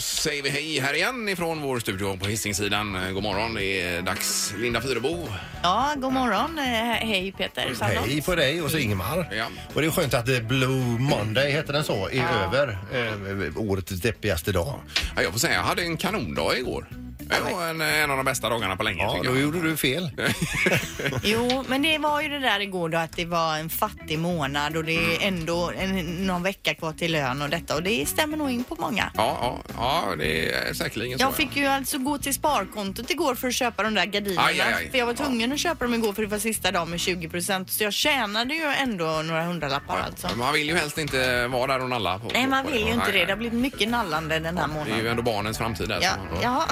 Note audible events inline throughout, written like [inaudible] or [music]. säger vi hej här igen ifrån vår studio på Hisingssidan. Eh, God morgon, det är dags. Linda Fyrebo. Ja, god morgon. Eh, Hej Peter Sandholt. Hej på dig och så Ingemar. Ja. Och det är skönt att eh, Blue Monday, heter den så, är över. Eh, årets deppigaste dag. Ja, jag får säga, jag hade en kanondag igår. Det var en, en av de bästa dagarna på länge. Ja, tycker då jag. gjorde [laughs] du fel. Jo, men det var ju det där igår då att det var en fattig månad och det är Mm. ändå en, någon vecka kvar till lön och detta och det stämmer nog in på många. Ja, ja, ja, det är säkerligen så. Jag fick ju alltså gå till sparkontot igår för att köpa de där gardinerna. Aj, aj, aj. För jag var tvungen att köpa dem igår för det var sista dagen med 20 Så jag tjänade ju ändå några hundralappar alltså. Men Man vill ju helst inte vara där och nalla. På, Nej, på- man på vill ju inte Nej, det. Det har nej. blivit mycket nallande den här Det är ju månaden. ändå barnens framtid. Där, Ja, [laughs] så- jaha.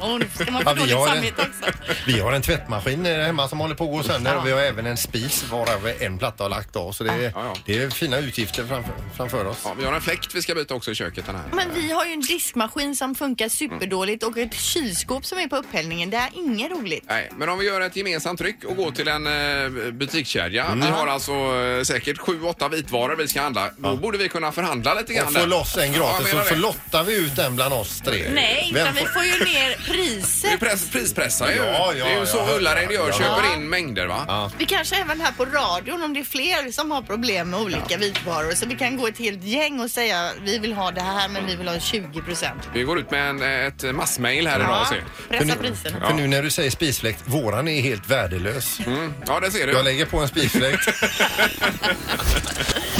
Åh, nu ska man få Ja, vi dåligt har det. samvete också. Vi har en tvättmaskin eh, hemma som håller på att gå sönder Ja. och vi har även en spis varav en platta har lagt av. Så det är, Ja, ja. det är fina utgifter framför, framför oss. Ja, vi har en fläkt vi ska byta också i köket. Den här. Men vi har ju en diskmaskin som funkar superdåligt och ett kylskåp som är på upphällningen. Det är inget roligt. Nej, men om vi gör ett gemensamt tryck och går till en eh, butikskedja. Mm. Vi har alltså eh, säkert sju, åtta vitvaror vi ska handla. Då borde vi kunna förhandla lite grann. Och få där. loss en Ja, jag gratis menar så, så det. lottar vi ut den bland oss tre. Nej, Vem utan vi får- får ju ner Vi priset. press, prispressar ju. Ja, ja, det är ju ja, så ja, Ullared gör, ja. köper in mängder va? Ja. Vi kanske även här på radion om det är fler som har problem med olika vitvaror så vi kan gå ett helt gäng och säga vi vill ha det här men vi vill ha 20 procent. Vi går ut med en, ett massmail här idag och ser. pressa priserna. För nu när du säger spisfläkt, våran är helt värdelös. Mm. Ja, det ser Jag du. lägger på [laughs] en spisfläkt.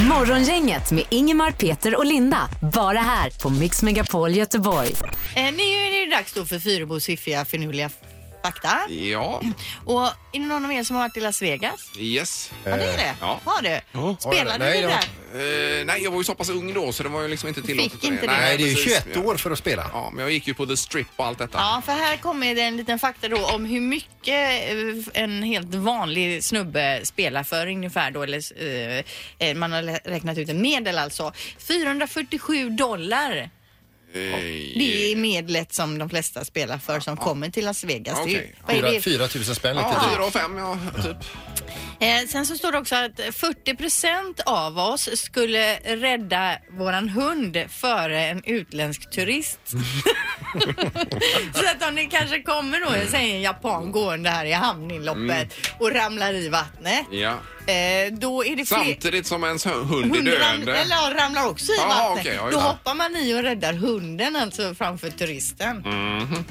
Morgongänget med Ingemar, Peter och Linda. Bara här på Mix Megapol Göteborg. Eh, nu är det ju dags då för Fyrebos fiffiga finurliga fakta. Ja, Och är det någon av er som har varit i Las Vegas? yes. Ja, det är det. ja. Har du? Har Spelade det? Nej, du det har- där? Eh, nej, jag var ju så pass ung då så det var ju liksom inte tillåtet. Fick inte det. Nej, det är ju precis. 21 år för att spela. Ja, men jag gick ju på The Strip och allt detta. Ja, för här kommer det en liten fakta då om hur mycket eh, en helt vanlig snubbe spelar för ungefär då, eller eh, eh, man har lä- räknat ut en medel alltså. 447 dollar, Eh, det är medlet som de flesta spelar för som kommer till Las Vegas. Det är ju- Okej. vad är det? Ah. 4 000 spänn lite Ja, drygt. fyra och fem, ja, typ. Eh, sen så står det också att 40 procent av oss skulle rädda våran hund före en utländsk turist. [laughs] så att om det kanske kommer då, jag säger en japan gående här i hamninloppet Mm. och ramlar i vattnet. Ja. Eh, då är det fler... Samtidigt som ens hund är Hunden ram, döende. eller ja, ramlar också i Jaha, vattnet. okej, ja, just Då det. hoppar man i och räddar hunden alltså framför turisten. Mm.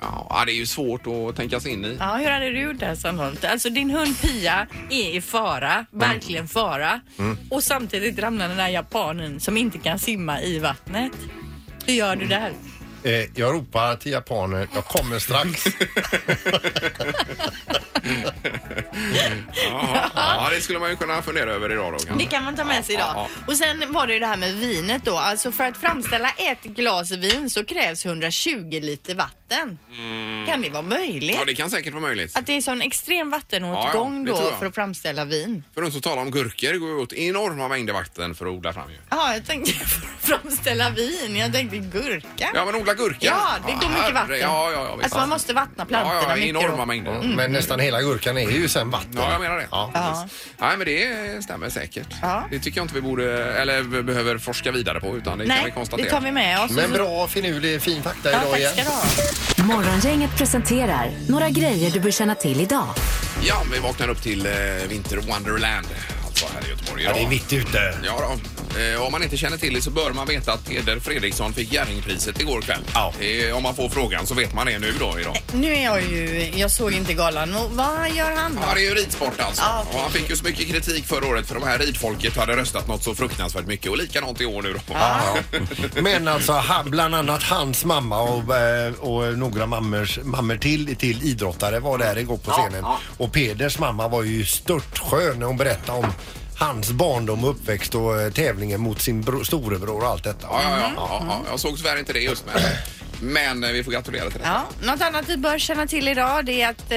Ja, det är ju svårt att tänka sig in i. Ja, hur hade du gjort där Sandholt? Alltså din hund Pia är i fara, verkligen fara. Mm. Och samtidigt ramlar den där japanen som inte kan simma i vattnet. Hur gör du där? Eh, jag ropar till japaner, jag [laughs] kommer strax. Ja, ja, det skulle man ju kunna fundera över idag då. Det kanske. kan man ta med sig idag. Ja, Och sen var det ju det här med vinet då. Alltså för att framställa ett glas vin så krävs 120 liter vatten. Kan det vara möjligt? Mm. Ja, det kan säkert vara möjligt. Att det är sån extrem vattenåtgång Ja, ja, det tror då jag. för att framställa vin. För att inte tala om gurkor går ju åt enorma mängder vatten för att odla fram ju. Ja, jag tänkte [laughs] framställa vin. Jag tänkte gurka. Ja, men odla gurka. Ja, det går mycket herre- vatten. Ja, ja, ja. visst. alltså man måste vattna plantorna Ja, ja, mycket enorma då. Mm. mängder. Men nästan hela gurkan är ju sen vatten. Ja, jag menar det. Ja. Ja. Nej, men det stämmer säkert. Ja. Det tycker jag inte vi borde, eller vi behöver forska vidare på, utan det kan vi Nej, konstatera. det tar vi med oss. Men bra, finurlig, fin fakta Ja, idag tack igen. ska du ha. Morgongänget presenterar några grejer du bör känna till idag. Ja, vi vaknar upp till eh, Winter Wonderland, alltså här i Göteborg Ja, idag. det är mitt ute. Ja då. Eh, om man inte kärnor till det så bör man veta att Peder Fredriksson fick Jerringpriset igår kväll. Ja. Eh, om man får frågan så vet man det nu då idag. Nu är jag ju, jag såg inte galan. Och vad gör han då? Ja, det är ju ridsport alltså. Ja, okej. Och han fick ju så mycket kritik förra året för de här ridfolket hade röstat något så fruktansvärt mycket och likadant i år nu då. Ja. Men alltså han, bland annat hans mamma och, eh, och några mammors, mammor till, till idrottare var där igår på scenen. Och Peders mamma var ju störtskön när hon berättade om hans barndom och uppväxt och eh, tävlingen mot sin bro, storebror och allt detta. Ja, ja, ja, Mm-hmm. ja, ja. Jag såg tyvärr inte det just men, men eh, vi får gratulera till det. Ja, något annat vi bör känna till idag det är att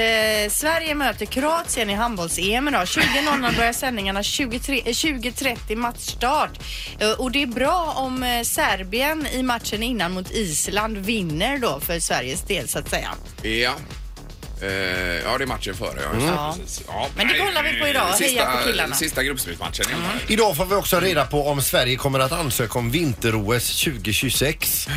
eh, Sverige möter Kroatien i handbolls-EM idag. 20.00 börjar sändningarna 23 eh, 20.30 matchstart. Eh, och det är bra om eh, Serbien i matchen innan mot Island vinner då för Sveriges del så att säga. Ja. Eh, ja, det är matchen före. Ja, just det, Mm. Ja. precis. Ja, Men det nej, kollar vi på idag. eh, Heja Sista, på killarna. Mm. sista gruppspelsmatchen. hemma. Idag får vi också reda på om Sverige kommer att ansöka om vinter-OS 2026.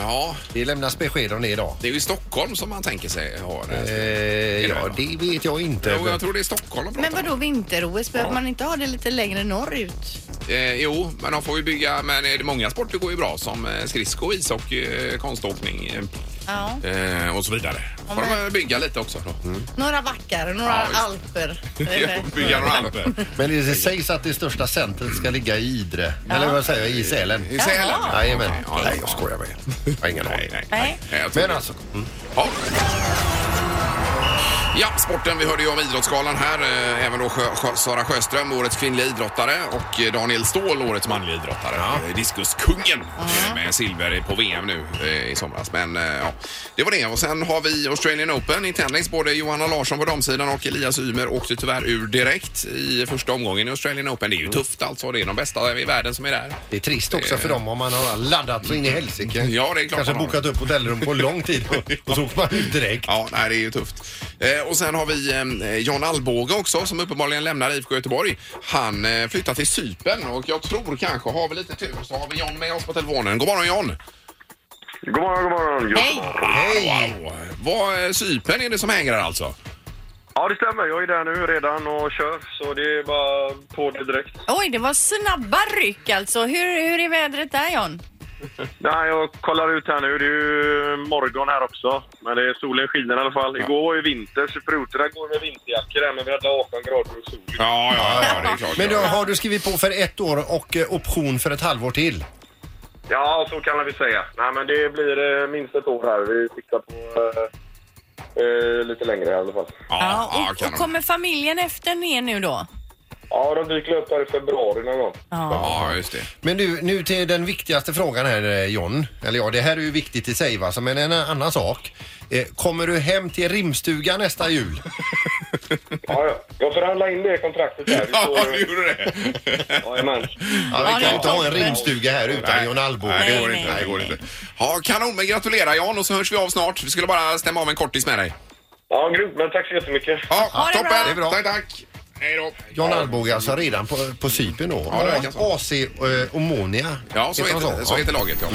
Ja, Det lämnas besked om det idag. det är ju i Stockholm som man tänker sig ha det. Eh, här. ja, det vet jag inte. Jo, jag tror det är Stockholm de Men pratar om. vadå vinter-OS? Behöver man inte ha det lite längre norrut? Eh, jo, men de får ju bygga. Men eh, många sporter går ju bra som eh, skridsko, ishockey, eh, konståkning Ja. eh, eh, och så vidare. Får men- de eh, bygga lite också då. Mm. Några backar, några Ja, visst. alper. [laughs] Ja, [laughs] bygga några alper. Men det sägs att det största centret ska ligga i Idre. Eller vad säger jag? I Sälen. I Sälen? Jaha. Jajamän. Okej, ja, Nej, jag skojar med er. Jag har ingen aning. Nej, nej. Nej. jag tror Men det. alltså, Ja. Ja, sporten. Vi hörde ju om Idrottsgalan här. Eh, Även då Sjö, Sjö, Sara Sjöström, årets kvinnliga idrottare och eh, Daniel Ståhl, årets manliga idrottare. Eh, Diskuskungen eh, med silver på VM nu eh, i somras. Men eh, ja, det var det. Och sen har vi Australian Open i tennis. Både Johanna Larsson på damsidan och Elias Ymer åkte tyvärr ur direkt i första omgången i Australian Open. Det är ju tufft alltså. Det är de bästa i världen som är där. det är trist också för dem om man har laddat så in i helsike. Ja, det är klart Kanske man har. bokat upp hotellrum på lång tid och- och så åker man ut direkt. Ja, nej, det är ju tufft. Eh, och sen har vi eh, John Alvbåge också som uppenbarligen lämnar IFK Göteborg. Han eh, flyttar till Cypern och jag tror kanske, har vi lite tur, så har vi John med oss på telefonen. God morgon John! God morgon, god morgon. Just Hej! morgon. Hej! Wow. Vad, eh, Cypern är det som hänger alltså? Ja, det stämmer. Jag är där nu redan och kör, så det är bara på det direkt. Oj, det var snabba ryck alltså. Hur, hur är vädret där John? Nej, jag kollar ut här nu. Det är ju morgon här också, men det är solen skiner i alla fall. Igår var ju vinter, så piloterna går med vinterjackor här, men vi hade 18 grader och sol. Ja, ja, ja, det är klart. Men då har du skrivit på för ett år och eh, option för ett halvår till. Ja, så kan vi säga. Nej, men det blir eh, minst ett år här. Vi siktar på eh, eh, lite längre i alla fall. Ja, ja, och, kan och de. kommer familjen efter ner nu då? Ja, de dyker upp här i februari någon gång. Ja. Ja, just det. Men nu, nu till den viktigaste frågan här eh, John. Eller ja, det här är ju viktigt i sig va, så men en annan sak. Eh, Kommer du hem till rimstugan nästa jul? Ja, ja. Jag förhandlar in det kontraktet här. [laughs] Vi Ja, får- du gjorde det! Jajamän. Ja, Ja, vi kan det ju inte ha en toppen. rimstuga här utan John Alvbåge. Nej, det går Nej, inte. nej, Det går nej. inte. Ja, kanon, men gratulerar John och så hörs vi av snart. Vi skulle bara stämma av en kortis med dig. Ja, grymt. Men tack så jättemycket. Ja, Ha det bra. toppen! Det är bra. Tack, tack! Hej då! John Alvbåge alltså redan på, på Cypern då. Ja, det verkar så. AC eh, Omonia. Ja, så heter, så heter laget. Ja.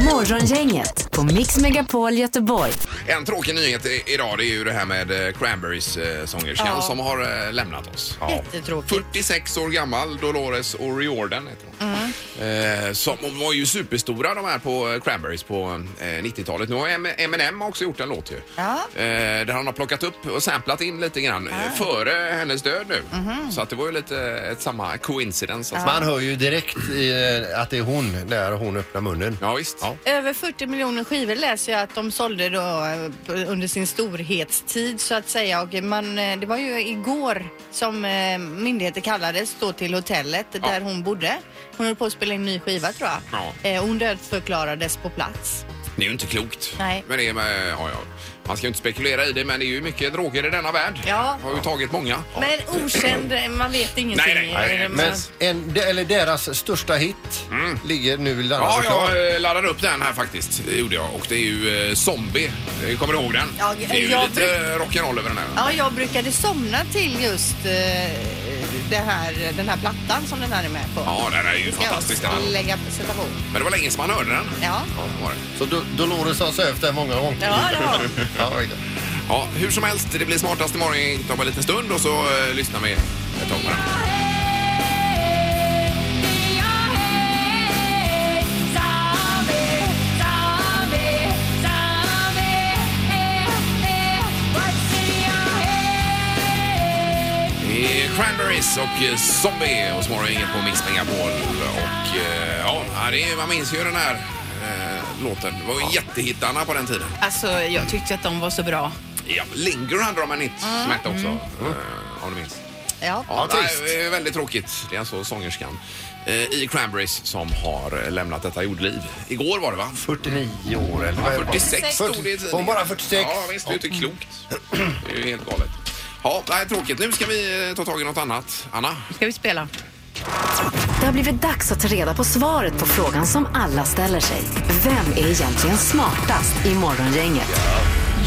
Morgongänget på Mix Megapol Göteborg. En tråkig nyhet i- idag det är ju det här med eh, Cranberries eh, sångerskan som har eh, lämnat oss. Jättetråkigt. 46 år gammal, Dolores O'Riordan heter hon. Mm. Eh, som, hon var ju superstora de här på eh, Cranberries på eh, 90-talet. Nu har M- Eminem också gjort en låt ju. Ja. Eh, där han har plockat upp och samplat in lite grann eh, före hennes död nu. Mhm. Så att det var ju lite eh, ett samma coincidence. Alltså. Man hör ju direkt eh, att det är hon när hon öppnar munnen. Ja, visst. Ja. Över 40 miljoner skivor läser jag att de sålde då eh, under sin storhetstid så att säga. Och man, eh, det var ju igår som eh, myndigheter kallades då till hotellet där hon bodde. Hon höll på att spela in en ny skiva tror jag. Ja. Eh, och Hon dödförklarades på plats. Det är ju inte klokt. Nej. Men det är med, ja, ja. Man ska ju inte spekulera i det, men det är ju mycket droger i denna värld. Ja. Har ju tagit många. Men okänd, eh, man vet ingenting. Nej, nej, nej, Eh, men- Men en, de- eller deras största hit ligger nu laddad Mm. Ja, och klar. jag eh, laddade upp den här faktiskt. Det gjorde jag. Och det är ju eh, Zombie. Eh, Kommer du ihåg den? Ja, det är ju jag lite rock'n'roll över den här. Ja, jag brukade somna till just eh, det här, den här plattan som den här är med på. Ja, den är ju fantastisk den Ska jag här. lägga presentation. Men det var länge sedan man hörde den. Ja. Ja, det var det. Så Do- Dolores har sövt där många gånger. Ja, det har hon. [laughs] Ja, oj då. ja, hur som helst, det blir smartast imorgon inte om en liten stund och så eh, lyssnar vi ett tag på den. Det är Cranberries och eh, Zombie och så var det inget på Mix Megapol. Och eh, ja, det är, man minns ju den här eh, låten. Det var ju jättehittarna på den tiden. Alltså, jag tyckte att de var så bra. Ja, Linger hade de en hit som hette också, eh, om du minns. Ja. Ja, Ja, nej, trist. det är väldigt tråkigt. Det är alltså sångerskan eh, i Cranberries som har eh, lämnat detta jordliv. Igår var det va? 49 år eller vad är det? 46 stod det i Var hon bara 46? Ja, visst. Det är ju inte klokt. Det är ju helt galet. Ja, nej, tråkigt. Nu ska vi eh, ta tag i något annat. Anna? Ska vi spela? Det har blivit dags att ta reda på svaret på frågan som alla ställer sig. Vem är egentligen smartast i Morgongänget?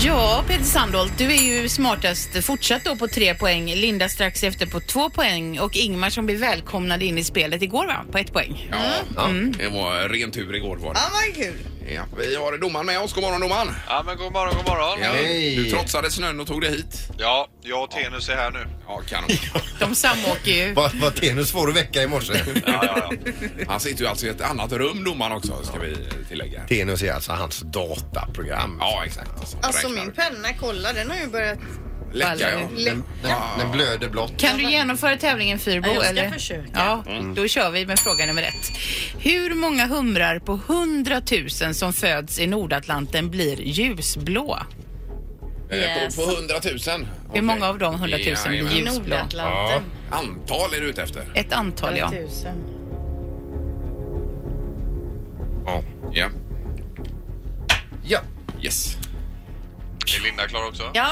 Ja, Peter Sandholt, du är ju smartast. Fortsatt då på tre poäng. Linda strax efter på två poäng och Ingmar som blev välkomnad in i spelet igår va? På ett poäng. Ja, det var ren tur igår var det. Ja, vad kul. Ja, vi har domaren med oss. God morgon domaren! Ja, men god morgon, god morgon. Ja, Ja, Hej. Du trotsade snön och tog dig hit. jag och Tenus är här nu. Ja, kanon. De samåker ju. Vad vad Tenus svår att väcka i morse. [laughs] Ja, ja, ja. Han sitter ju alltså i ett annat rum domaren också ska vi tillägga. Tenus är alltså hans dataprogram. Ja, exakt. Som Alltså räknar min ut. penna, kolla den har ju börjat Läcka ja. läcka. Den blöder blått. Kan du genomföra tävlingen Fyrbo? Ja, jag ska eller? försöka. Ja, då kör vi med fråga nummer ett. Hur många humrar på 100 000 som föds i Nordatlanten blir ljusblå? Eh, På, på 100 000. Hur många av de 100 000 blir Jajamän. ljusblå? Ja. Nordatlanten. Antal är du ute efter? Ett antal, ja. Tusen. Ja. ja. Ja. Yes. Är Linda klar också? Ja,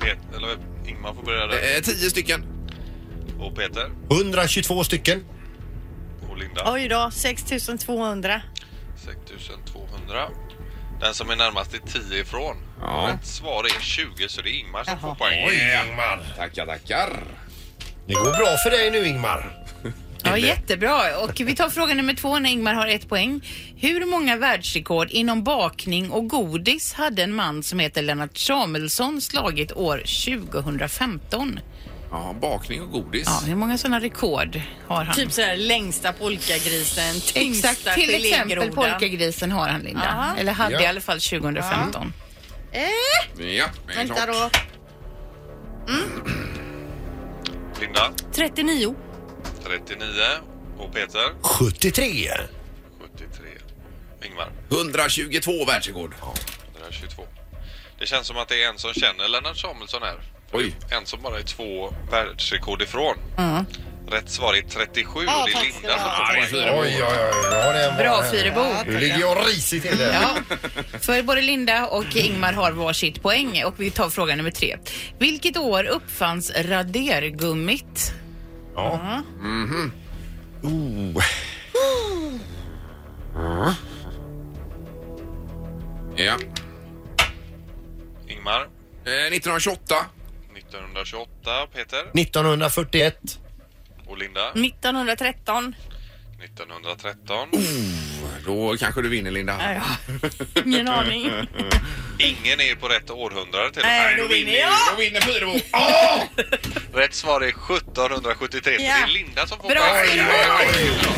Pet- eller Ingmar får börja där. Eh, tio stycken. Och Peter 122 stycken. och Linda. oj då. 6200. 6200. Den som är närmast är 10 ifrån. Ja. Rätt svar är 20 så det är Ingmar som får Jaha. poäng. Ingmar. Tackar, tackar. Det går bra för dig nu Ingmar. Ja, jättebra. Och vi tar fråga nummer två när Ingmar har ett poäng. Hur många världsrekord inom bakning och godis hade en man som heter Lennart Samuelsson slagit år 2015? Ja, bakning och godis. Ja, hur många sådana rekord har han? Typ sådär längsta polkagrisen, tyngsta Exakt, till exempel polkagrisen har han Linda. Ja. Eller hade Ja. i alla fall 2015. Ja, det är Vänta klart. då. Linda 39. 39 och Peter 73. 73. Ingmar 122 världsrekord. 122. Det känns som att det är en som känner Lennart Samuelsson här. Oj. En som bara är två världsrekord ifrån. Mm. Rätt svar är 37 och det tack är ska Linda du som ha. Ja, får det är poäng. fyra Oj, oj, oj. Ja, det var- Bra Fyrebo. Nu ligger jag risigt till det. Ja, för både Linda och Ingmar har varsitt poäng och vi tar fråga nummer tre. Vilket år uppfanns radergummit? Oh. Ja. Ingmar Eh, 1928. 1928 Peter 1941. och Linda Mm. 1913. 1913. Då kanske du vinner Linda. Ja, [laughs] ingen aning. Ingen är på rätt århundrade till och Nej, med. då vinner jag. Då vinner Fyrebo. Åh! Rätt svar är 1773 så det Ja. är Linda som får Bra poäng. Fyrebo!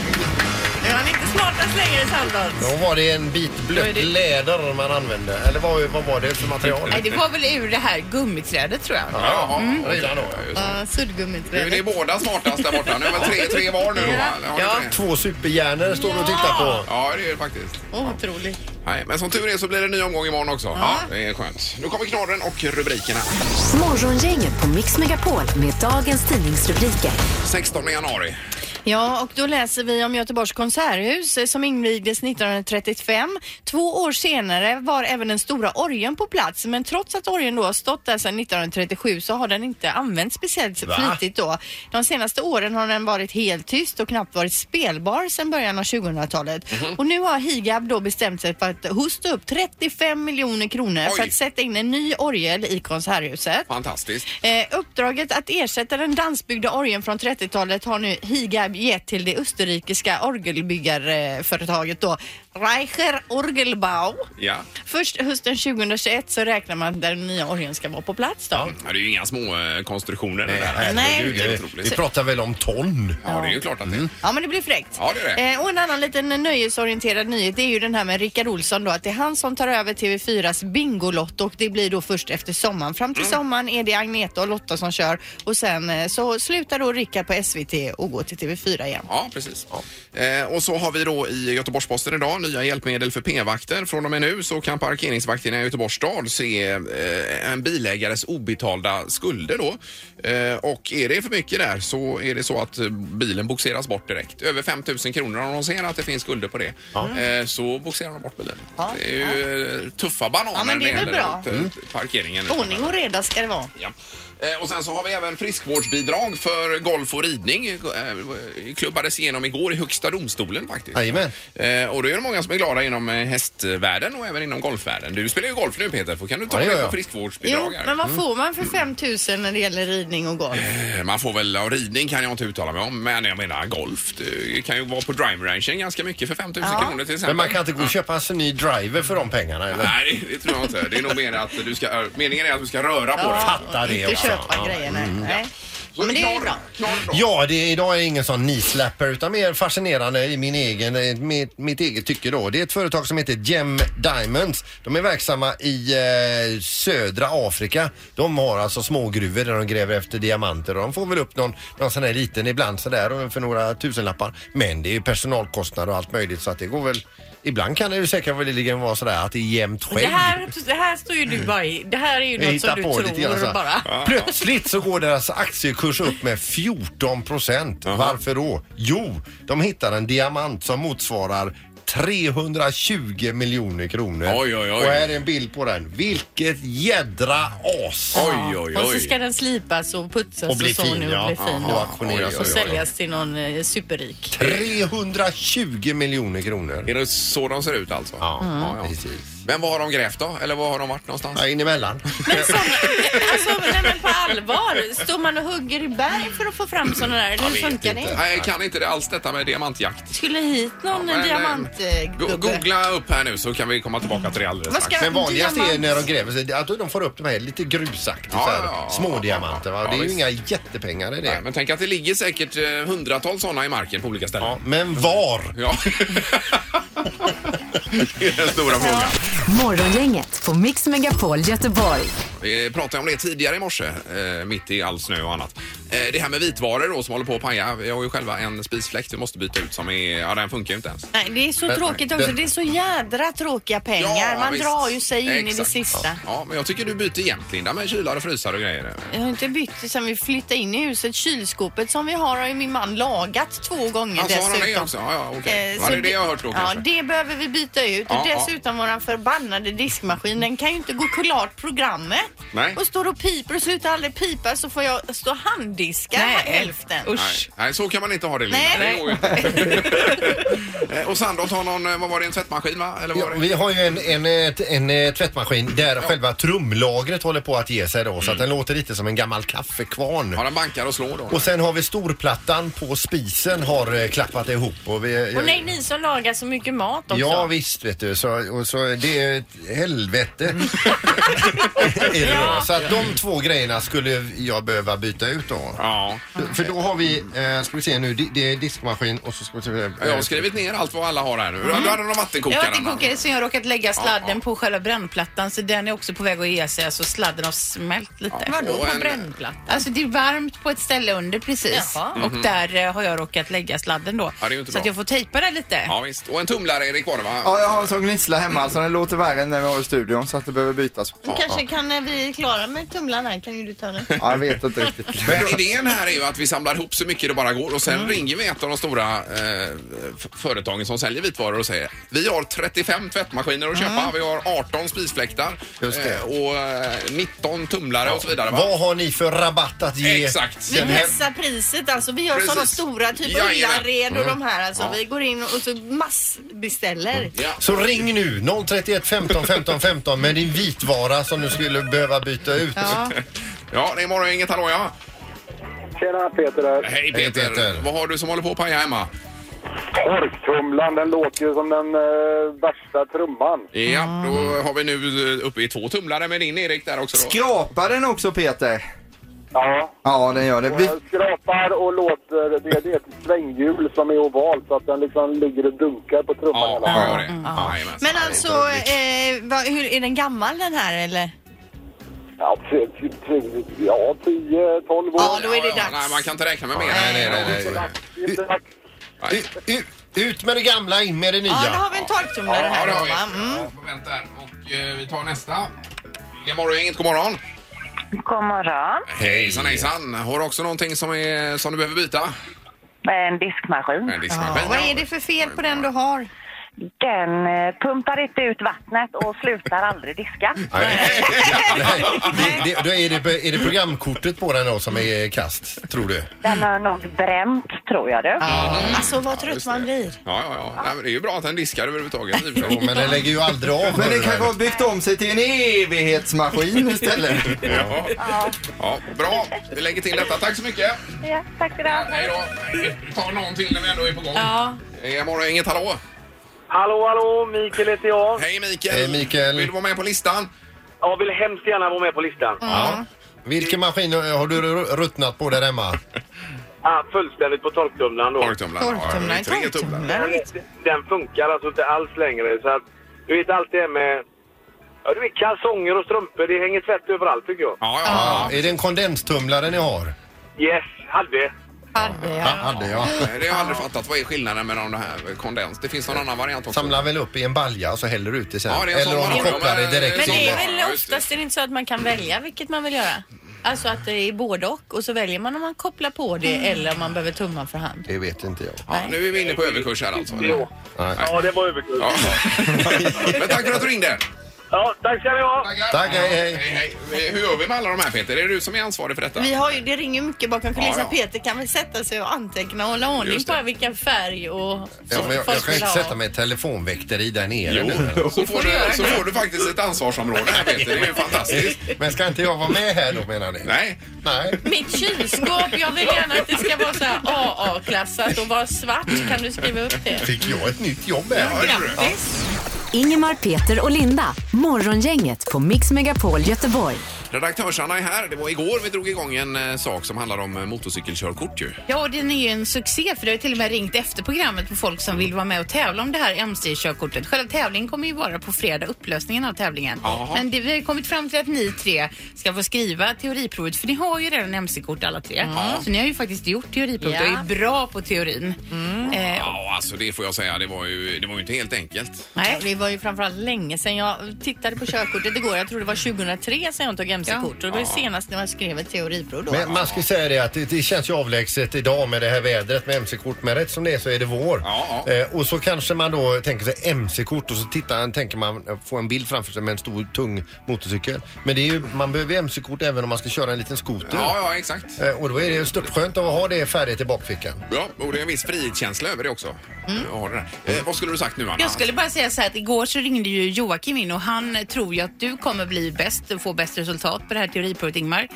Nu är han inte smartast längre, Sandholt. Då var det en bit blött läder man använde. Eller vad, vad var det för material? Nej, det var väl ur det här gummiträdet tror jag. Jaha. Redan då. Nu Ja, är ni suddgummit. båda smartast där borta. Nu är väl tre, tre var nu då, va? Eller har ni Ja. tre? Två superhjärnor står du och tittar på. Ja, det är det faktiskt. Otroligt. Nej, men som tur är så blir det en ny omgång imorgon också. Ja, det är skönt. Nu kommer knorren och rubrikerna. Morgongänget på Mix Megapol med dagens tidningsrubriker. 16 januari. Ja, och då läser vi om Göteborgs konserthus eh, som invigdes 1935. Två år senare var även den stora orgeln på plats, men trots att orgeln då har stått där sedan 1937 så har den inte använts speciellt Va? flitigt då. De senaste åren har den varit helt tyst och knappt varit spelbar sedan början av 2000-talet. Mhm. Och nu har Higab då bestämt sig för att hosta upp 35 miljoner kronor för Oj. att sätta in en ny orgel i konserthuset. Fantastiskt. Eh, uppdraget att ersätta den dansbyggda orgeln från 30-talet har nu Higab gett till det österrikiska orgelbyggarföretaget då Reicher Orgelbau. Ja. Först hösten 2021 så räknar man att den nya orgeln ska vara på plats då. Ja, Det är ju inga små eh, konstruktioner det där. herregud, Nej. Mm. det- Vi pratar väl om ton? Ja, det är ju klart att det är. Ja men det blir fräckt. Ja, det är det. Eh, och en annan liten nöjesorienterad nyhet det är ju den här med Rickard Olsson då att det är han som tar över TV4s Bingolotto och det blir då först efter sommaren. Fram Mm. till sommaren är det Agneta och Lotta som kör och sen eh, så slutar då Rickard på SVT och går till TV4 igen. Ja, precis. Eh, och så har vi då i Göteborgs-Posten idag nya hjälpmedel för p-vakter. Från och med nu så kan parkeringsvakterna i Göteborgs stad se eh, en bilägares obetalda skulder då. Eh, och är det för mycket där så är det så att eh, bilen boxeras bort direkt. Över 5 000 kronor om de ser att det finns skulder på det eh, så boxerar de bort bilen. Det är ju eh, tuffa bananer Ja, men det är när väl bra. Mm. gäller, eh, parkeringen. Ordning och reda ska det vara. Ja. Eh, Och sen så har vi även friskvårdsbidrag för golf och ridning. Eh, eh, klubbades igenom igår i Högsta domstolen faktiskt. Jajamän. Eh, och då är det många som är glada inom eh, hästvärlden och även inom golfvärlden. Du spelar ju golf nu Peter, får kan du ta Ja, det Mm. gör lite jag. friskvårdsbidrag Jo, här? men vad får man för 5 000 när det gäller ridning och golf? Eh, Man får väl, och ridning kan jag inte uttala mig om, men jag menar golf. Det kan ju vara på driving ranchen ganska mycket för 5 000 kronor till exempel. Men man kan inte gå och köpa en ny driver för de pengarna eller? Nej, det tror jag inte. Det är nog mer att du ska, eh, meningen är att du ska röra på dig. Fattar det. Mm. Inte va? köpa grejer, nej. nej. Så Men det är ju knorr, bra. knorr då. Ja, det, är- idag är ingen sån knee-slapper utan mer fascinerande i min egen, eh, mitt, mitt eget tycke då. Det är ett företag som heter Gem Diamonds. De är verksamma i eh, södra Afrika. De har alltså smågruvor där de gräver efter diamanter och de får väl upp någon, någon sån här liten ibland sådär och för några tusenlappar. Men det är ju personalkostnader och allt möjligt så att det går väl Ibland kan det ju säkert väl vara sådär att det är jämnt Det skägg. här, det här står ju du bara i. Det här är ju Mm. Vi något som hittar du på lite grann så tror här. bara. Plötsligt så går deras aktiekurs upp med 14 procent. Varför då? Jo, de hittar en diamant som motsvarar 320 miljoner kronor. Oj, oj, oj. Och här är en bild på den. Vilket jädra as! Oj, oj, Och så oj. ska den slipas och putsas Och bli Alltså, så fin, nu och ja. bli fin. Och auktioneras och och- säljas till någon eh, superrik. [laughs] 320 miljoner kronor. Är det så de ser ut alltså? Ja, precis. Men vad har de grävt då? Eller vad har de varit någonstans? Ja, in emellan. Men som, alltså, nej, men på allvar, står man och hugger i berg för att få fram sådana där? Eller hur funkar det? Nej, jag kan inte det alls detta med diamantjakt. Skulle hit någon Men, eh, go- diamantgubbe? Googla upp här nu så kan vi komma tillbaka till det alldeles Vad ska- strax. Men vanligast är Diamant. när de gräver sig att de får upp de här lite grusaktigt Ja, så här, ja, ja. små diamanter. Va? Ja, Det är ju visst. inga jättepengar i det. Nej, men tänk att det ligger säkert eh, hundratals sådana i marken på olika ställen. Ja, men var? Ja. [laughs] det är den stora frågan. Morgongänget på Mix Megapol Göteborg. Vi pratade om det tidigare i morse, eh, mitt i all snö och annat. Eh, det här med vitvaror då som håller på att paja. Vi har ju själva en spisfläkt vi måste byta ut som är, ja den funkar ju inte ens. Nej, det är så tråkigt också. det- Det är så jädra tråkiga pengar. Man visst. drar ju sig in i det Exakt. sista. Ja, men jag tycker du byter jämt Linda med kylar och frysar och grejer. Jag har inte bytt sen vi flyttade in i huset. Kylskåpet som vi har har ju min man lagat två gånger Alltså, har han det dessutom. också? Ja, ja, okej. Eh, Ja, så det är det jag har hört då, ja, kanske. det behöver vi byta ut. Ja, och ja. dessutom våran förbannade diskmaskin, den kan ju inte gå klart programmet. Nej. Och står och piper och slutar aldrig pipa så får jag stå och handdiska Nej. hälften. Usch. Nej, nej, så kan man inte ha det Linda. Nej. Det går ju inte. Eh, och Sandholt har någon, eh, vad var det, en tvättmaskin va? Eller vad Ja, var det? vi har ju en, en, eh, t- en eh, tvättmaskin där själva trumlagret håller på att ge sig då så att den låter lite som en gammal kaffekvarn. Mm. Ja, den bankar och slår då. Och sen har vi storplattan på spisen har eh, klappat ihop. Och vi, Och nej, ni som lagar så mycket mat också. Ja visst vet du, så, och så det är ett helvete. Mm. [laughs] är det då. Så att de två grejerna skulle jag behöva byta ut då. Ja. För då har vi, eh, ska vi se nu, di- det är diskmaskin och så ska vi se. eh, Jag har skrivit ner allt vad alla har här nu. Du hade någon Jag vattenkokare. har inte Anna. kokare så jag har råkat lägga sladden Ja, ja. på själva brännplattan så den är också på väg att ge sig. Alltså sladden har smält lite. Ja, Vadå och på en- brännplattan? Alltså det är varmt på ett ställe under precis. Jaha. Och där eh, har jag råkat lägga sladden då. Mhm. Ja, det är ju inte så att bra. jag får tejpa den lite. Ja, visst. Och en tumlare är det kvar va? Ja, jag har en sån gnissla hemma så den låter värre än den vi har i studion så att det behöver bytas. Men Kanske kan när vi är klara med tumlaren här kan ju [laughs] du ta den. Ja, jag vet inte riktigt. Men idén här är ju att vi samlar ihop så mycket det bara går och sen ringer vi ett av de stora eh, f- företagen som säljer vitvaror och säger vi har 35 tvättmaskiner att köpa, vi har 18 spisfläktar Just det. eh, och eh, 19 tumlare och så vidare. Va? Vad har ni för rabatt att ge? Exakt. Vi pressar priset alltså. Vi gör Precis. sådana stora, typ Jajamän. Mhm. Ullared och de här alltså. Ja. Vi går in och så massbeställer. Ja. Så ring nu 031 15 15 15 med din vitvara som du skulle behöva byta ut. ja, det är morgongänget. Hallå ja! Tjena, Peter där. Hej Peter. Peter. Vad har du som håller på att paja hemma? Torktumlaren, den låter ju som den eh, värsta trumman. Ja, Ah. då har vi nu eh, uppe i två tumlare med din Erik där också. Då. Skrapar den också Peter? Ja. Ja, den gör det. Och Vi, den skrapar och låter. Det, det är ett svänghjul som är ovalt så att den liksom ligger och dunkar på trumman. Ja, hela ja, tiden. gör det. Jajamän. Men alltså, eh, vad, hur, är den gammal den här eller? Ja, t- t- t- ja, 10, 12 år. Ja, då är det Ja, ja, dags. Nej, man kan inte räkna med mer. Nej, nej, nej, nej. Det är dags. Nej. U- u- ut med det gamla, in med det nya. Ja, då har vi en torktumlare Ja, här det då har vi. va? Mm. Ja, får vänta här. Och eh, vi tar nästa. Det är morgongänget, god morgon. God morgon. Hejsan hejsan. Har du också någonting som, är, som du behöver byta? En diskmaskin. En diskmaskin. Vad är det för fel på den du har? Den eh, pumpar inte ut vattnet och slutar aldrig diska. Nej, det, det, då är, det, är det programkortet på den då som är kast, tror du? Den har nog bränt, tror jag du. Alltså vad trött man blir. Ja, ja, ja. Nej, men det är ju bra att den diskar överhuvudtaget. Jo, men den lägger ju aldrig av. Men den kanske har byggt om sig till en evighetsmaskin istället. Ja. ja, bra. Vi lägger till detta. Tack så mycket. Ja, tack ska du ha. Hej då. Ta någon till när vi ändå är på gång. Ja. Eh, morgon, inget hallå. Hallå, hallå! Mikael heter jag. Hej Mikael. Hej, Mikael. Vill du vara med på listan? Jag vill hemskt gärna vara med på listan. Mm. Ja. Vilken maskin har du ru- ruttnat på där hemma? Ah, fullständigt på torktumlaren då. Torktumlaren. Ja, Torktumlaren, Tre tumlare. torktumlaren. Den funkar alltså inte alls längre. Så att, du vet allt det här med... Ja, du vet kalsonger och strumpor. Det hänger tvätt överallt tycker jag. Ja, Ja. ja, Är det en kondenstumlare ni har? Yes, hade. Hade Ja, jag. hade jag. ja. Det har jag aldrig fattat. Vad är skillnaden mellan det här kondens? Det finns någon annan variant också. Samlar väl upp i en balja och så häller ut det sen. Ja, eh, det är en Eller sån om man du har. kopplar det direkt Men Ja, det är till... just väl det. oftast är det inte så att man kan välja vilket man vill göra? Alltså att det är både och och så väljer man om man kopplar på det eller om man behöver tumma för hand. Det vet inte jag. Ja, nu är vi inne på överkurs här alltså. Jo. Nej. Ja, det var [laughs] överkul. Ja. Men tack för att du ringde. Ja, tack ska ni ha. Tack, hej, hej. Hej, hej. Hur gör vi med alla de här Peter? Är det du som är ansvarig för detta? Vi har ju, det ringer ju mycket bakom kulisserna. Ja, ja. Peter kan väl sätta sig och anteckna och hålla ordning Just det. på vilken färg och Ja, men jag, jag folk kan vill inte ha. sätta mig i telefonväkteri där nere nu. Så får, du, så får du faktiskt ett ansvarsområde här Peter. [laughs] Det är ju fantastiskt. Men ska inte jag vara med här då menar ni? Nej. Nej. Mitt kylskåp, jag vill gärna att det ska vara så här AA-klassat och vara svart. Kan du skriva upp det? Fick jag ett nytt jobb här? Grattis! Ingemar, Peter och Linda. Morgongänget på Mix Megapol Göteborg. Redaktörsarna är här. Det var igår vi drog igång en eh, sak som handlar om eh, motorcykelkörkort ju. Ja, och den är ju en succé för det har ju till och med ringt efter programmet på folk som vill vara med och tävla om det här MC-körkortet. Själva tävlingen kommer ju vara på fredag, upplösningen av tävlingen. Jaha. Men det, vi har ju kommit fram till att ni tre ska få skriva teoriprovet för ni har ju redan MC-kort alla tre. Mm. Så ni har ju faktiskt gjort teoriprovet Ja. och är bra på teorin. Eh, Ja, alltså det får jag säga. Det var ju, det var ju inte helt enkelt. Nej, det var ju framförallt länge sedan jag tittade på körkortet igår. Jag tror det var 2003 sedan jag tog MC-kort och det var ju senast när jag skrev ett teoriprov då. Men man ska ju säga det att det, det känns ju avlägset idag med det här vädret med MC-kort. Men rätt som det är så är det vår. Ja, ja. Eh, och så kanske man då tänker sig MC-kort och så tittar, tänker man eh, få en bild framför sig med en stor tung motorcykel. Men det är ju, man behöver ju MC-kort även om man ska köra en liten skoter. Ja, ja, exakt. Eh, och då är det störtskönt att ha det färdigt i bakfickan. Ja, och det är en viss frihetskänsla över det också. Ja, det där. Eh, vad skulle du sagt nu, Anna? Jag skulle bara säga så här att igår så ringde ju Joakim in och han tror ju att du kommer bli bäst och få bäst resultat på det här teoriprovet Ingmar.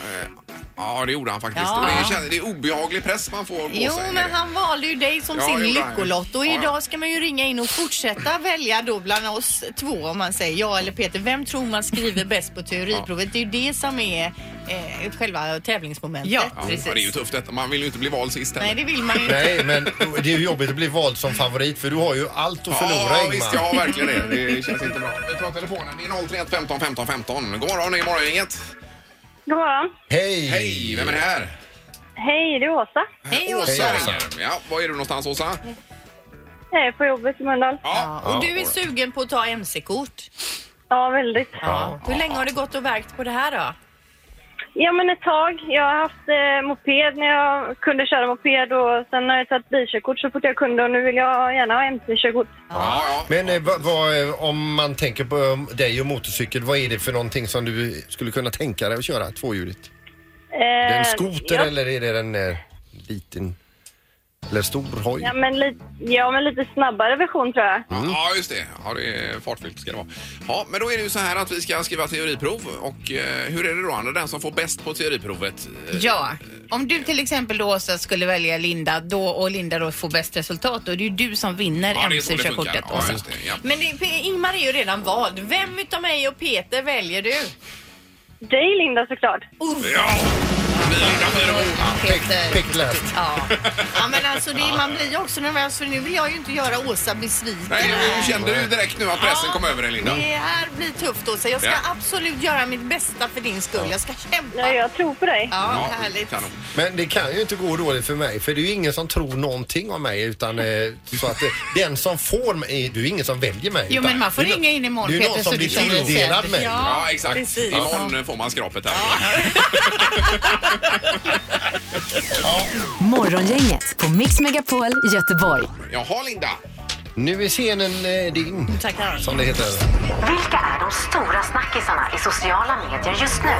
Ja, det gjorde han faktiskt. Ja. Och det, är, det är obehaglig press man får på Jo, sig. men han valde ju dig som Ja, sin det gjorde han. lyckolott och Ja, ja. idag ska man ju ringa in och fortsätta välja då bland oss två om man säger jag eller Peter. Vem tror [laughs] man skriver bäst på teoriprovet? Det är ju det som är eh, själva tävlingsmomentet. Ja, Ja, precis. det är ju tufft detta. Man vill ju inte bli vald sist heller. Nej, det vill man ju inte. Nej, men det är ju jobbigt att bli vald som favorit för du har ju allt att förlora ja, Ingmar. visst, jag har verkligen det. Det känns inte bra. Vi tar telefonen. Det är 031 15 15 15. God morgon, det är Morgongänget. God morgon. Hej! Hej, vem är det här? Hej, det är Åsa. Hej, Åsa. Åsa Hej, ringer. Ja, var är du någonstans, Åsa? Jag är på jobbet i Mölndal. Ja. Och du är sugen på att ta MC-kort. Ja, väldigt. Ja. Hur länge har du gått och verkt på det här då? Ja, men ett tag. Jag har haft eh, moped när jag kunde köra moped och sen har jag tagit bilkörkort så fort jag kunde och nu vill jag gärna ha MC-körkort. Ja, ja. Men eh, vad, vad, eh, om man tänker på eh, dig och motorcykel, vad är det för någonting som du skulle kunna tänka dig att köra tvåhjuligt? Eh, Är det en skoter ja. eller är det en eh, liten eller stor hoj? Ja men, li- ja, men lite snabbare version tror jag. Ja, just det. Ja, det är fartfyllt ska det vara. Ja, men då är det ju så här att vi ska skriva teoriprov. Och eh, hur är det då, Anna? Den som får bäst på teoriprovet? eh, Ja, om du till exempel då Åsa skulle välja Linda då och Linda då får bäst resultat då är det ju du som vinner Ja, det är så det funkar. MC-körkortet Ja, Åsa. just det. Ja. Men det, P- Ingmar är ju redan vald. Vem utav mig och Peter väljer du? Dig Linda såklart. Ja! Fyra, fyra, fyra. Peter. Pick last. Ja. ja men alltså det, man blir ju också nervös för nu vill jag ju inte göra Åsa besviken. Nej, nu kände du direkt nu att pressen Ja, kom över dig, Linda. Det här blir tufft Åsa. Jag ska Ja. absolut göra mitt bästa för din skull. Jag ska kämpa. Ja, jag tror på dig. Ja, Ja, härligt. kanon. Men det kan ju inte gå dåligt för mig för det är ju ingen som tror någonting om mig utan eh, så att eh, den som får mig, du är ingen som väljer mig. Jo, utan men man får det är no- ringa in imorgon, Det är någon Peter, som så blir du känner dig tilldelad sedd. mig. Ja. Ja, exakt. precis. Imorgon får man skrapet här. Morgongänget på Mix Megapol Göteborg. Jaha, Linda. Nu är scenen eh, Mm, din. Tackar. Som det heter. Vilka är de stora snackisarna i sociala medier just nu?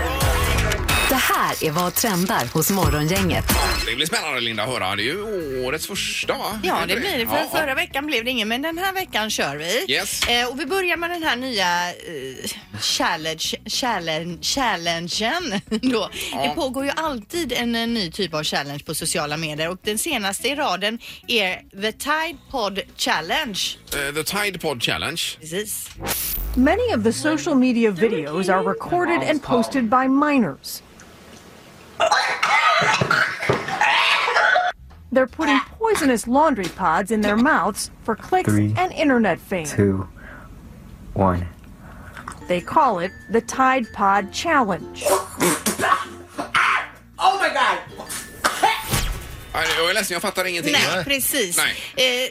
Det här är vad trendar hos Morgongänget. Det blir spännande Linda att höra. Det är ju årets första va? Ja, det blir det. För Ja, ja. Förra veckan blev det ingen, men den här veckan kör vi. Yes. Eh, och vi börjar med den här nya eh, challenge, challenge, challengen. [laughs] Då. Det pågår ju alltid en, eh, ny typ av challenge på sociala medier och den senaste i raden är The Tide Pod Challenge. Eh, The Tide Pod Challenge. Precis. Many of the social media videos are recorded and posted by minors. They're putting poisonous laundry pods in their mouths for clicks Three, and internet fame. two, one. They call it the Tide Pod Challenge. Oh my god! Jag är ledsen, jag fattar ingenting. Nej, precis. Eh,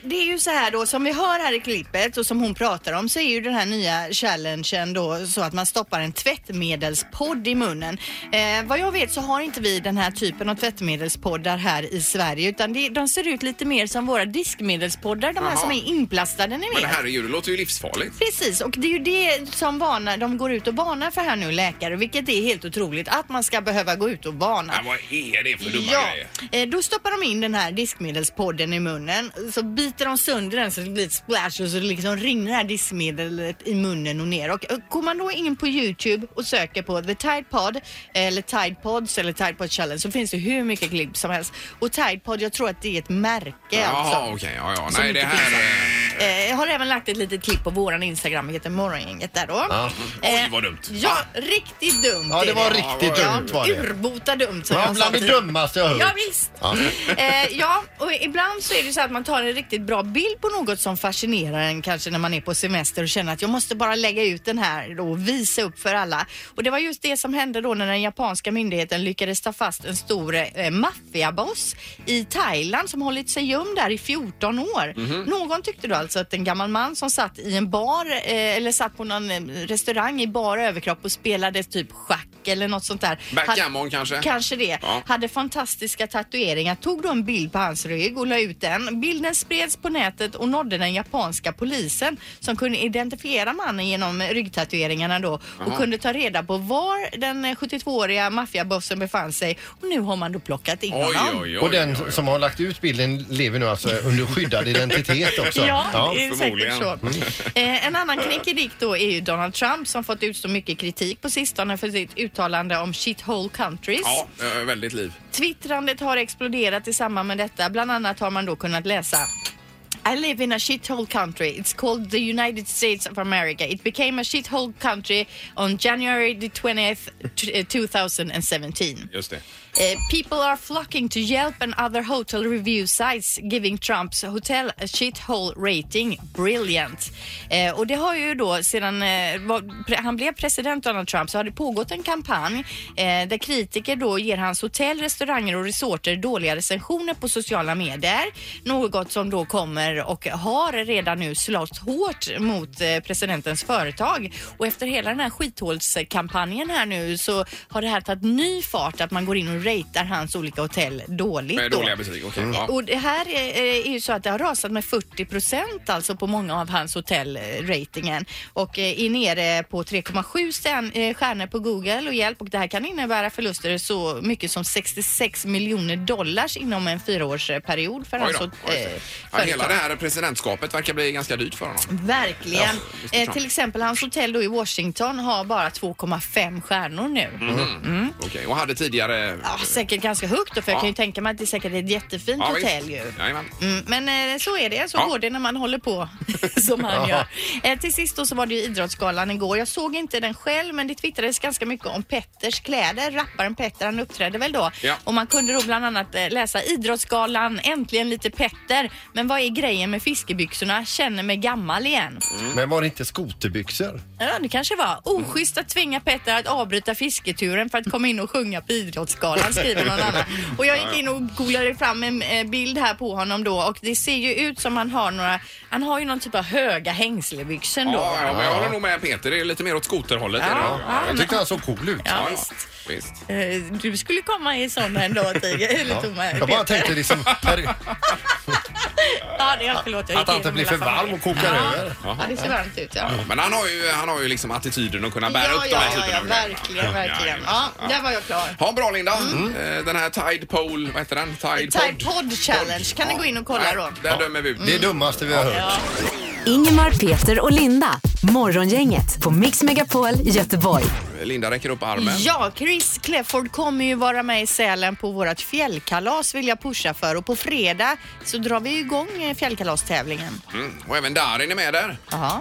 det är ju så här då, som vi hör här i klippet och som hon pratar om så är ju den här nya challengen då så att man stoppar en tvättmedelspodd i munnen. Eh, vad jag vet så har inte vi den här typen av tvättmedelspoddar här i Sverige utan det, de ser ut lite mer som våra diskmedelspoddar, de här Jaha. som är inplastade ni Men vet. herregud, det låter ju livsfarligt. Precis, och det är ju det som varnar, de går ut och varnar för här nu läkare, vilket är helt otroligt att man ska behöva gå ut och varna. Vad är det för dumma Ja, grejer? eh, då stoppar de in den här diskmedelspodden i munnen, så biter de sönder den så det blir ett splash och så liksom rinner det här diskmedlet i munnen och ner. Och eh, går man då in på Youtube och söker på The Tide Pod eh, eller Tide Pods eller Tide Pod Challenge så finns det hur mycket klipp som helst. Och Tide Pod, jag tror att det är ett märke alltså. Jaha, okej. Ja, ja. Så Nej, det mycket här... eh, Eh, jag har även lagt ett litet klipp på våran Instagram, heter Morgongänget där då. Ja. Oj, Eh, vad dumt. Ja, riktigt dumt Ja, det är var riktigt dumt var det. Urbota dumt som Ja, jag bland sa det tidigare. dummaste jag hört. Ja, visst. Ja. Eh, ja, och ibland så är det så att man tar en riktigt bra bild på något som fascinerar en kanske när man är på semester och känner att jag måste bara lägga ut den här då och visa upp för alla. Och det var just det som hände då när den japanska myndigheten lyckades ta fast en stor eh, maffiaboss i Thailand som hållit sig gömd där i 14 år. Mhm. Någon tyckte då alltså att en gammal man som satt i en bar eh, eller satt på någon eh, restaurang i bara överkropp och spelade typ schack eller något sånt där. Backgammon Han- kanske? Kanske det Ja. hade fantastiska tatueringar, tog då en bild på hans rygg och la ut den. Bilden spreds på nätet och nådde den japanska polisen som kunde identifiera mannen genom ryggtatueringarna då Jaha. och kunde ta reda på var den eh, 72-åriga maffiabossen befann sig och nu har man då plockat eh, in honom. och den som har lagt ut bilden lever nu alltså under skyddad [laughs] identitet också. Ja, det är säkert Förmodligen. så. Eh, en annan kneckedick då är ju Donald Trump som fått utstå mycket kritik på sistone för sitt uttalande om shithole countries. Ja, eh, väldigt liv. Twittrandet har exploderat i samband med detta. Bland annat har man då kunnat läsa I live in a shithole country. It's called the United States of America. It became a shithole country on January the 20th, t- eh, 2017. Just det. Eh, people are flocking to Yelp and other hotel review sites giving Trumps hotel a shithole rating brilliant. Eh, och det har ju då sedan eh, var, pre, han blev president Donald Trump så har det pågått en kampanj eh, där kritiker då ger hans hotell, restauranger och resorter dåliga recensioner på sociala medier. Något som då kommer och har redan nu slått hårt mot eh, presidentens företag. Och efter hela den här skithålskampanjen här nu så har det här tagit ny fart att man går in och ratear hans olika hotell dåligt. Med då. dåliga betyg, okej. Mm. Eh, Ja. Och det här eh, är ju så att det har rasat med 40 procent alltså på många av hans hotellratingen och eh, är nere på 3,7 stjärn- eh, stjärnor på Google och hjälp och det här kan innebära förluster så mycket som 66 miljoner dollars inom en fyraårsperiod för Oj hans då, hot- oj eh, Ja, hela företag. det här presidentskapet verkar bli ganska dyrt för honom. Verkligen. Ja, Mr. Trump. eh, till exempel hans hotell då i Washington har bara 2,5 stjärnor nu. Mhm. Okej, och hade tidigare... Mm. Ja, säkert ganska högt då, för jag kan ju tänka mig att det säkert är ett jättefint Ja, visst. hotell ju. Jajamän. Mm, men eh, så är det, så Ja. går det när man håller på [laughs] som han gör. Eh, till sist då så var det ju Idrottsgalan igår. Jag såg inte den själv men det twittrades ganska mycket om Petters kläder. Rapparen Petter han uppträdde väl då. Ja. Och man kunde då bland annat eh, läsa Idrottsgalan, äntligen lite Petter. Men vad är grejen med fiskebyxorna? Känner mig gammal igen. Men var det inte skoterbyxor? Ja, det kanske var. Oschysst att tvinga Petter att avbryta fisketuren för att komma in och sjunga på Idrottsgalan, skriver någon annan. Och jag gick in och googlade fram en eh, bild här på honom då och det ser ju ut som han har några, han har ju någon typ av höga hängslebyxor då. Ja, ja, men jag håller nog med Peter. Det är lite mer åt skoterhållet. Ja, är det nog. ja, Jag men- tyckte han såg cool ut. Ja, visst. Visst. Eh, Du skulle komma i sådana en dag, Tiger. Eller Ja. Toma, Jag bara Peter. [laughs] tänkte liksom per, Ja, det, jag förlåt, jag att han inte blir för varm och kokar ja. över. Ja, det ser varmt ut. Ja. Men han har ju, han har ju liksom attityden att kunna bära Ja, upp de ja, här ja, typen ja, av verkligen, verkligen. Ja, där var jag klar. Ja, bra Linda. Eh, Den här Tide Pole, vad heter den? Tide, Tide Pod Challenge, kan ni gå in och kolla då? Där dömer vi ut. Det är dummaste vi har hört. Ingemar, Peter och Linda. Morgongänget på Mix Megapol Göteborg. Linda räcker upp armen. Ja, Chris Clefford kommer ju vara med i Sälen på vårt fjällkalas vill jag pusha för och på fredag så drar vi igång eh, fjällkalastävlingen. Mm. Och även Darin är med där.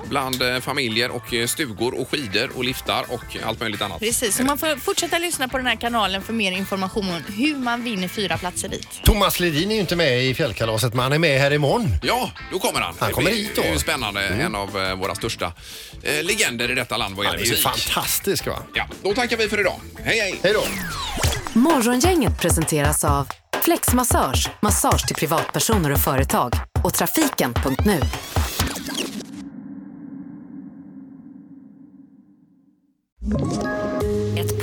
Bland eh, familjer och eh, stugor och skidor och liftar och allt möjligt annat. Precis, så man får fortsätta lyssna på den här kanalen för mer information om hur man vinner fyra platser dit. Thomas Ledin är ju inte med i fjällkalaset men han är med här imorgon. Ja, då kommer han. Han kommer hit då. Mm. Det är ju spännande. En av eh, våra största eh, legender i detta land vad Han gäller är ju musik. fantastisk va? Ja, då tackar vi för idag. Hej, hej! Hej då! Morgongänget presenteras av Flexmassage, massage till privatpersoner och företag och trafiken.nu. Ett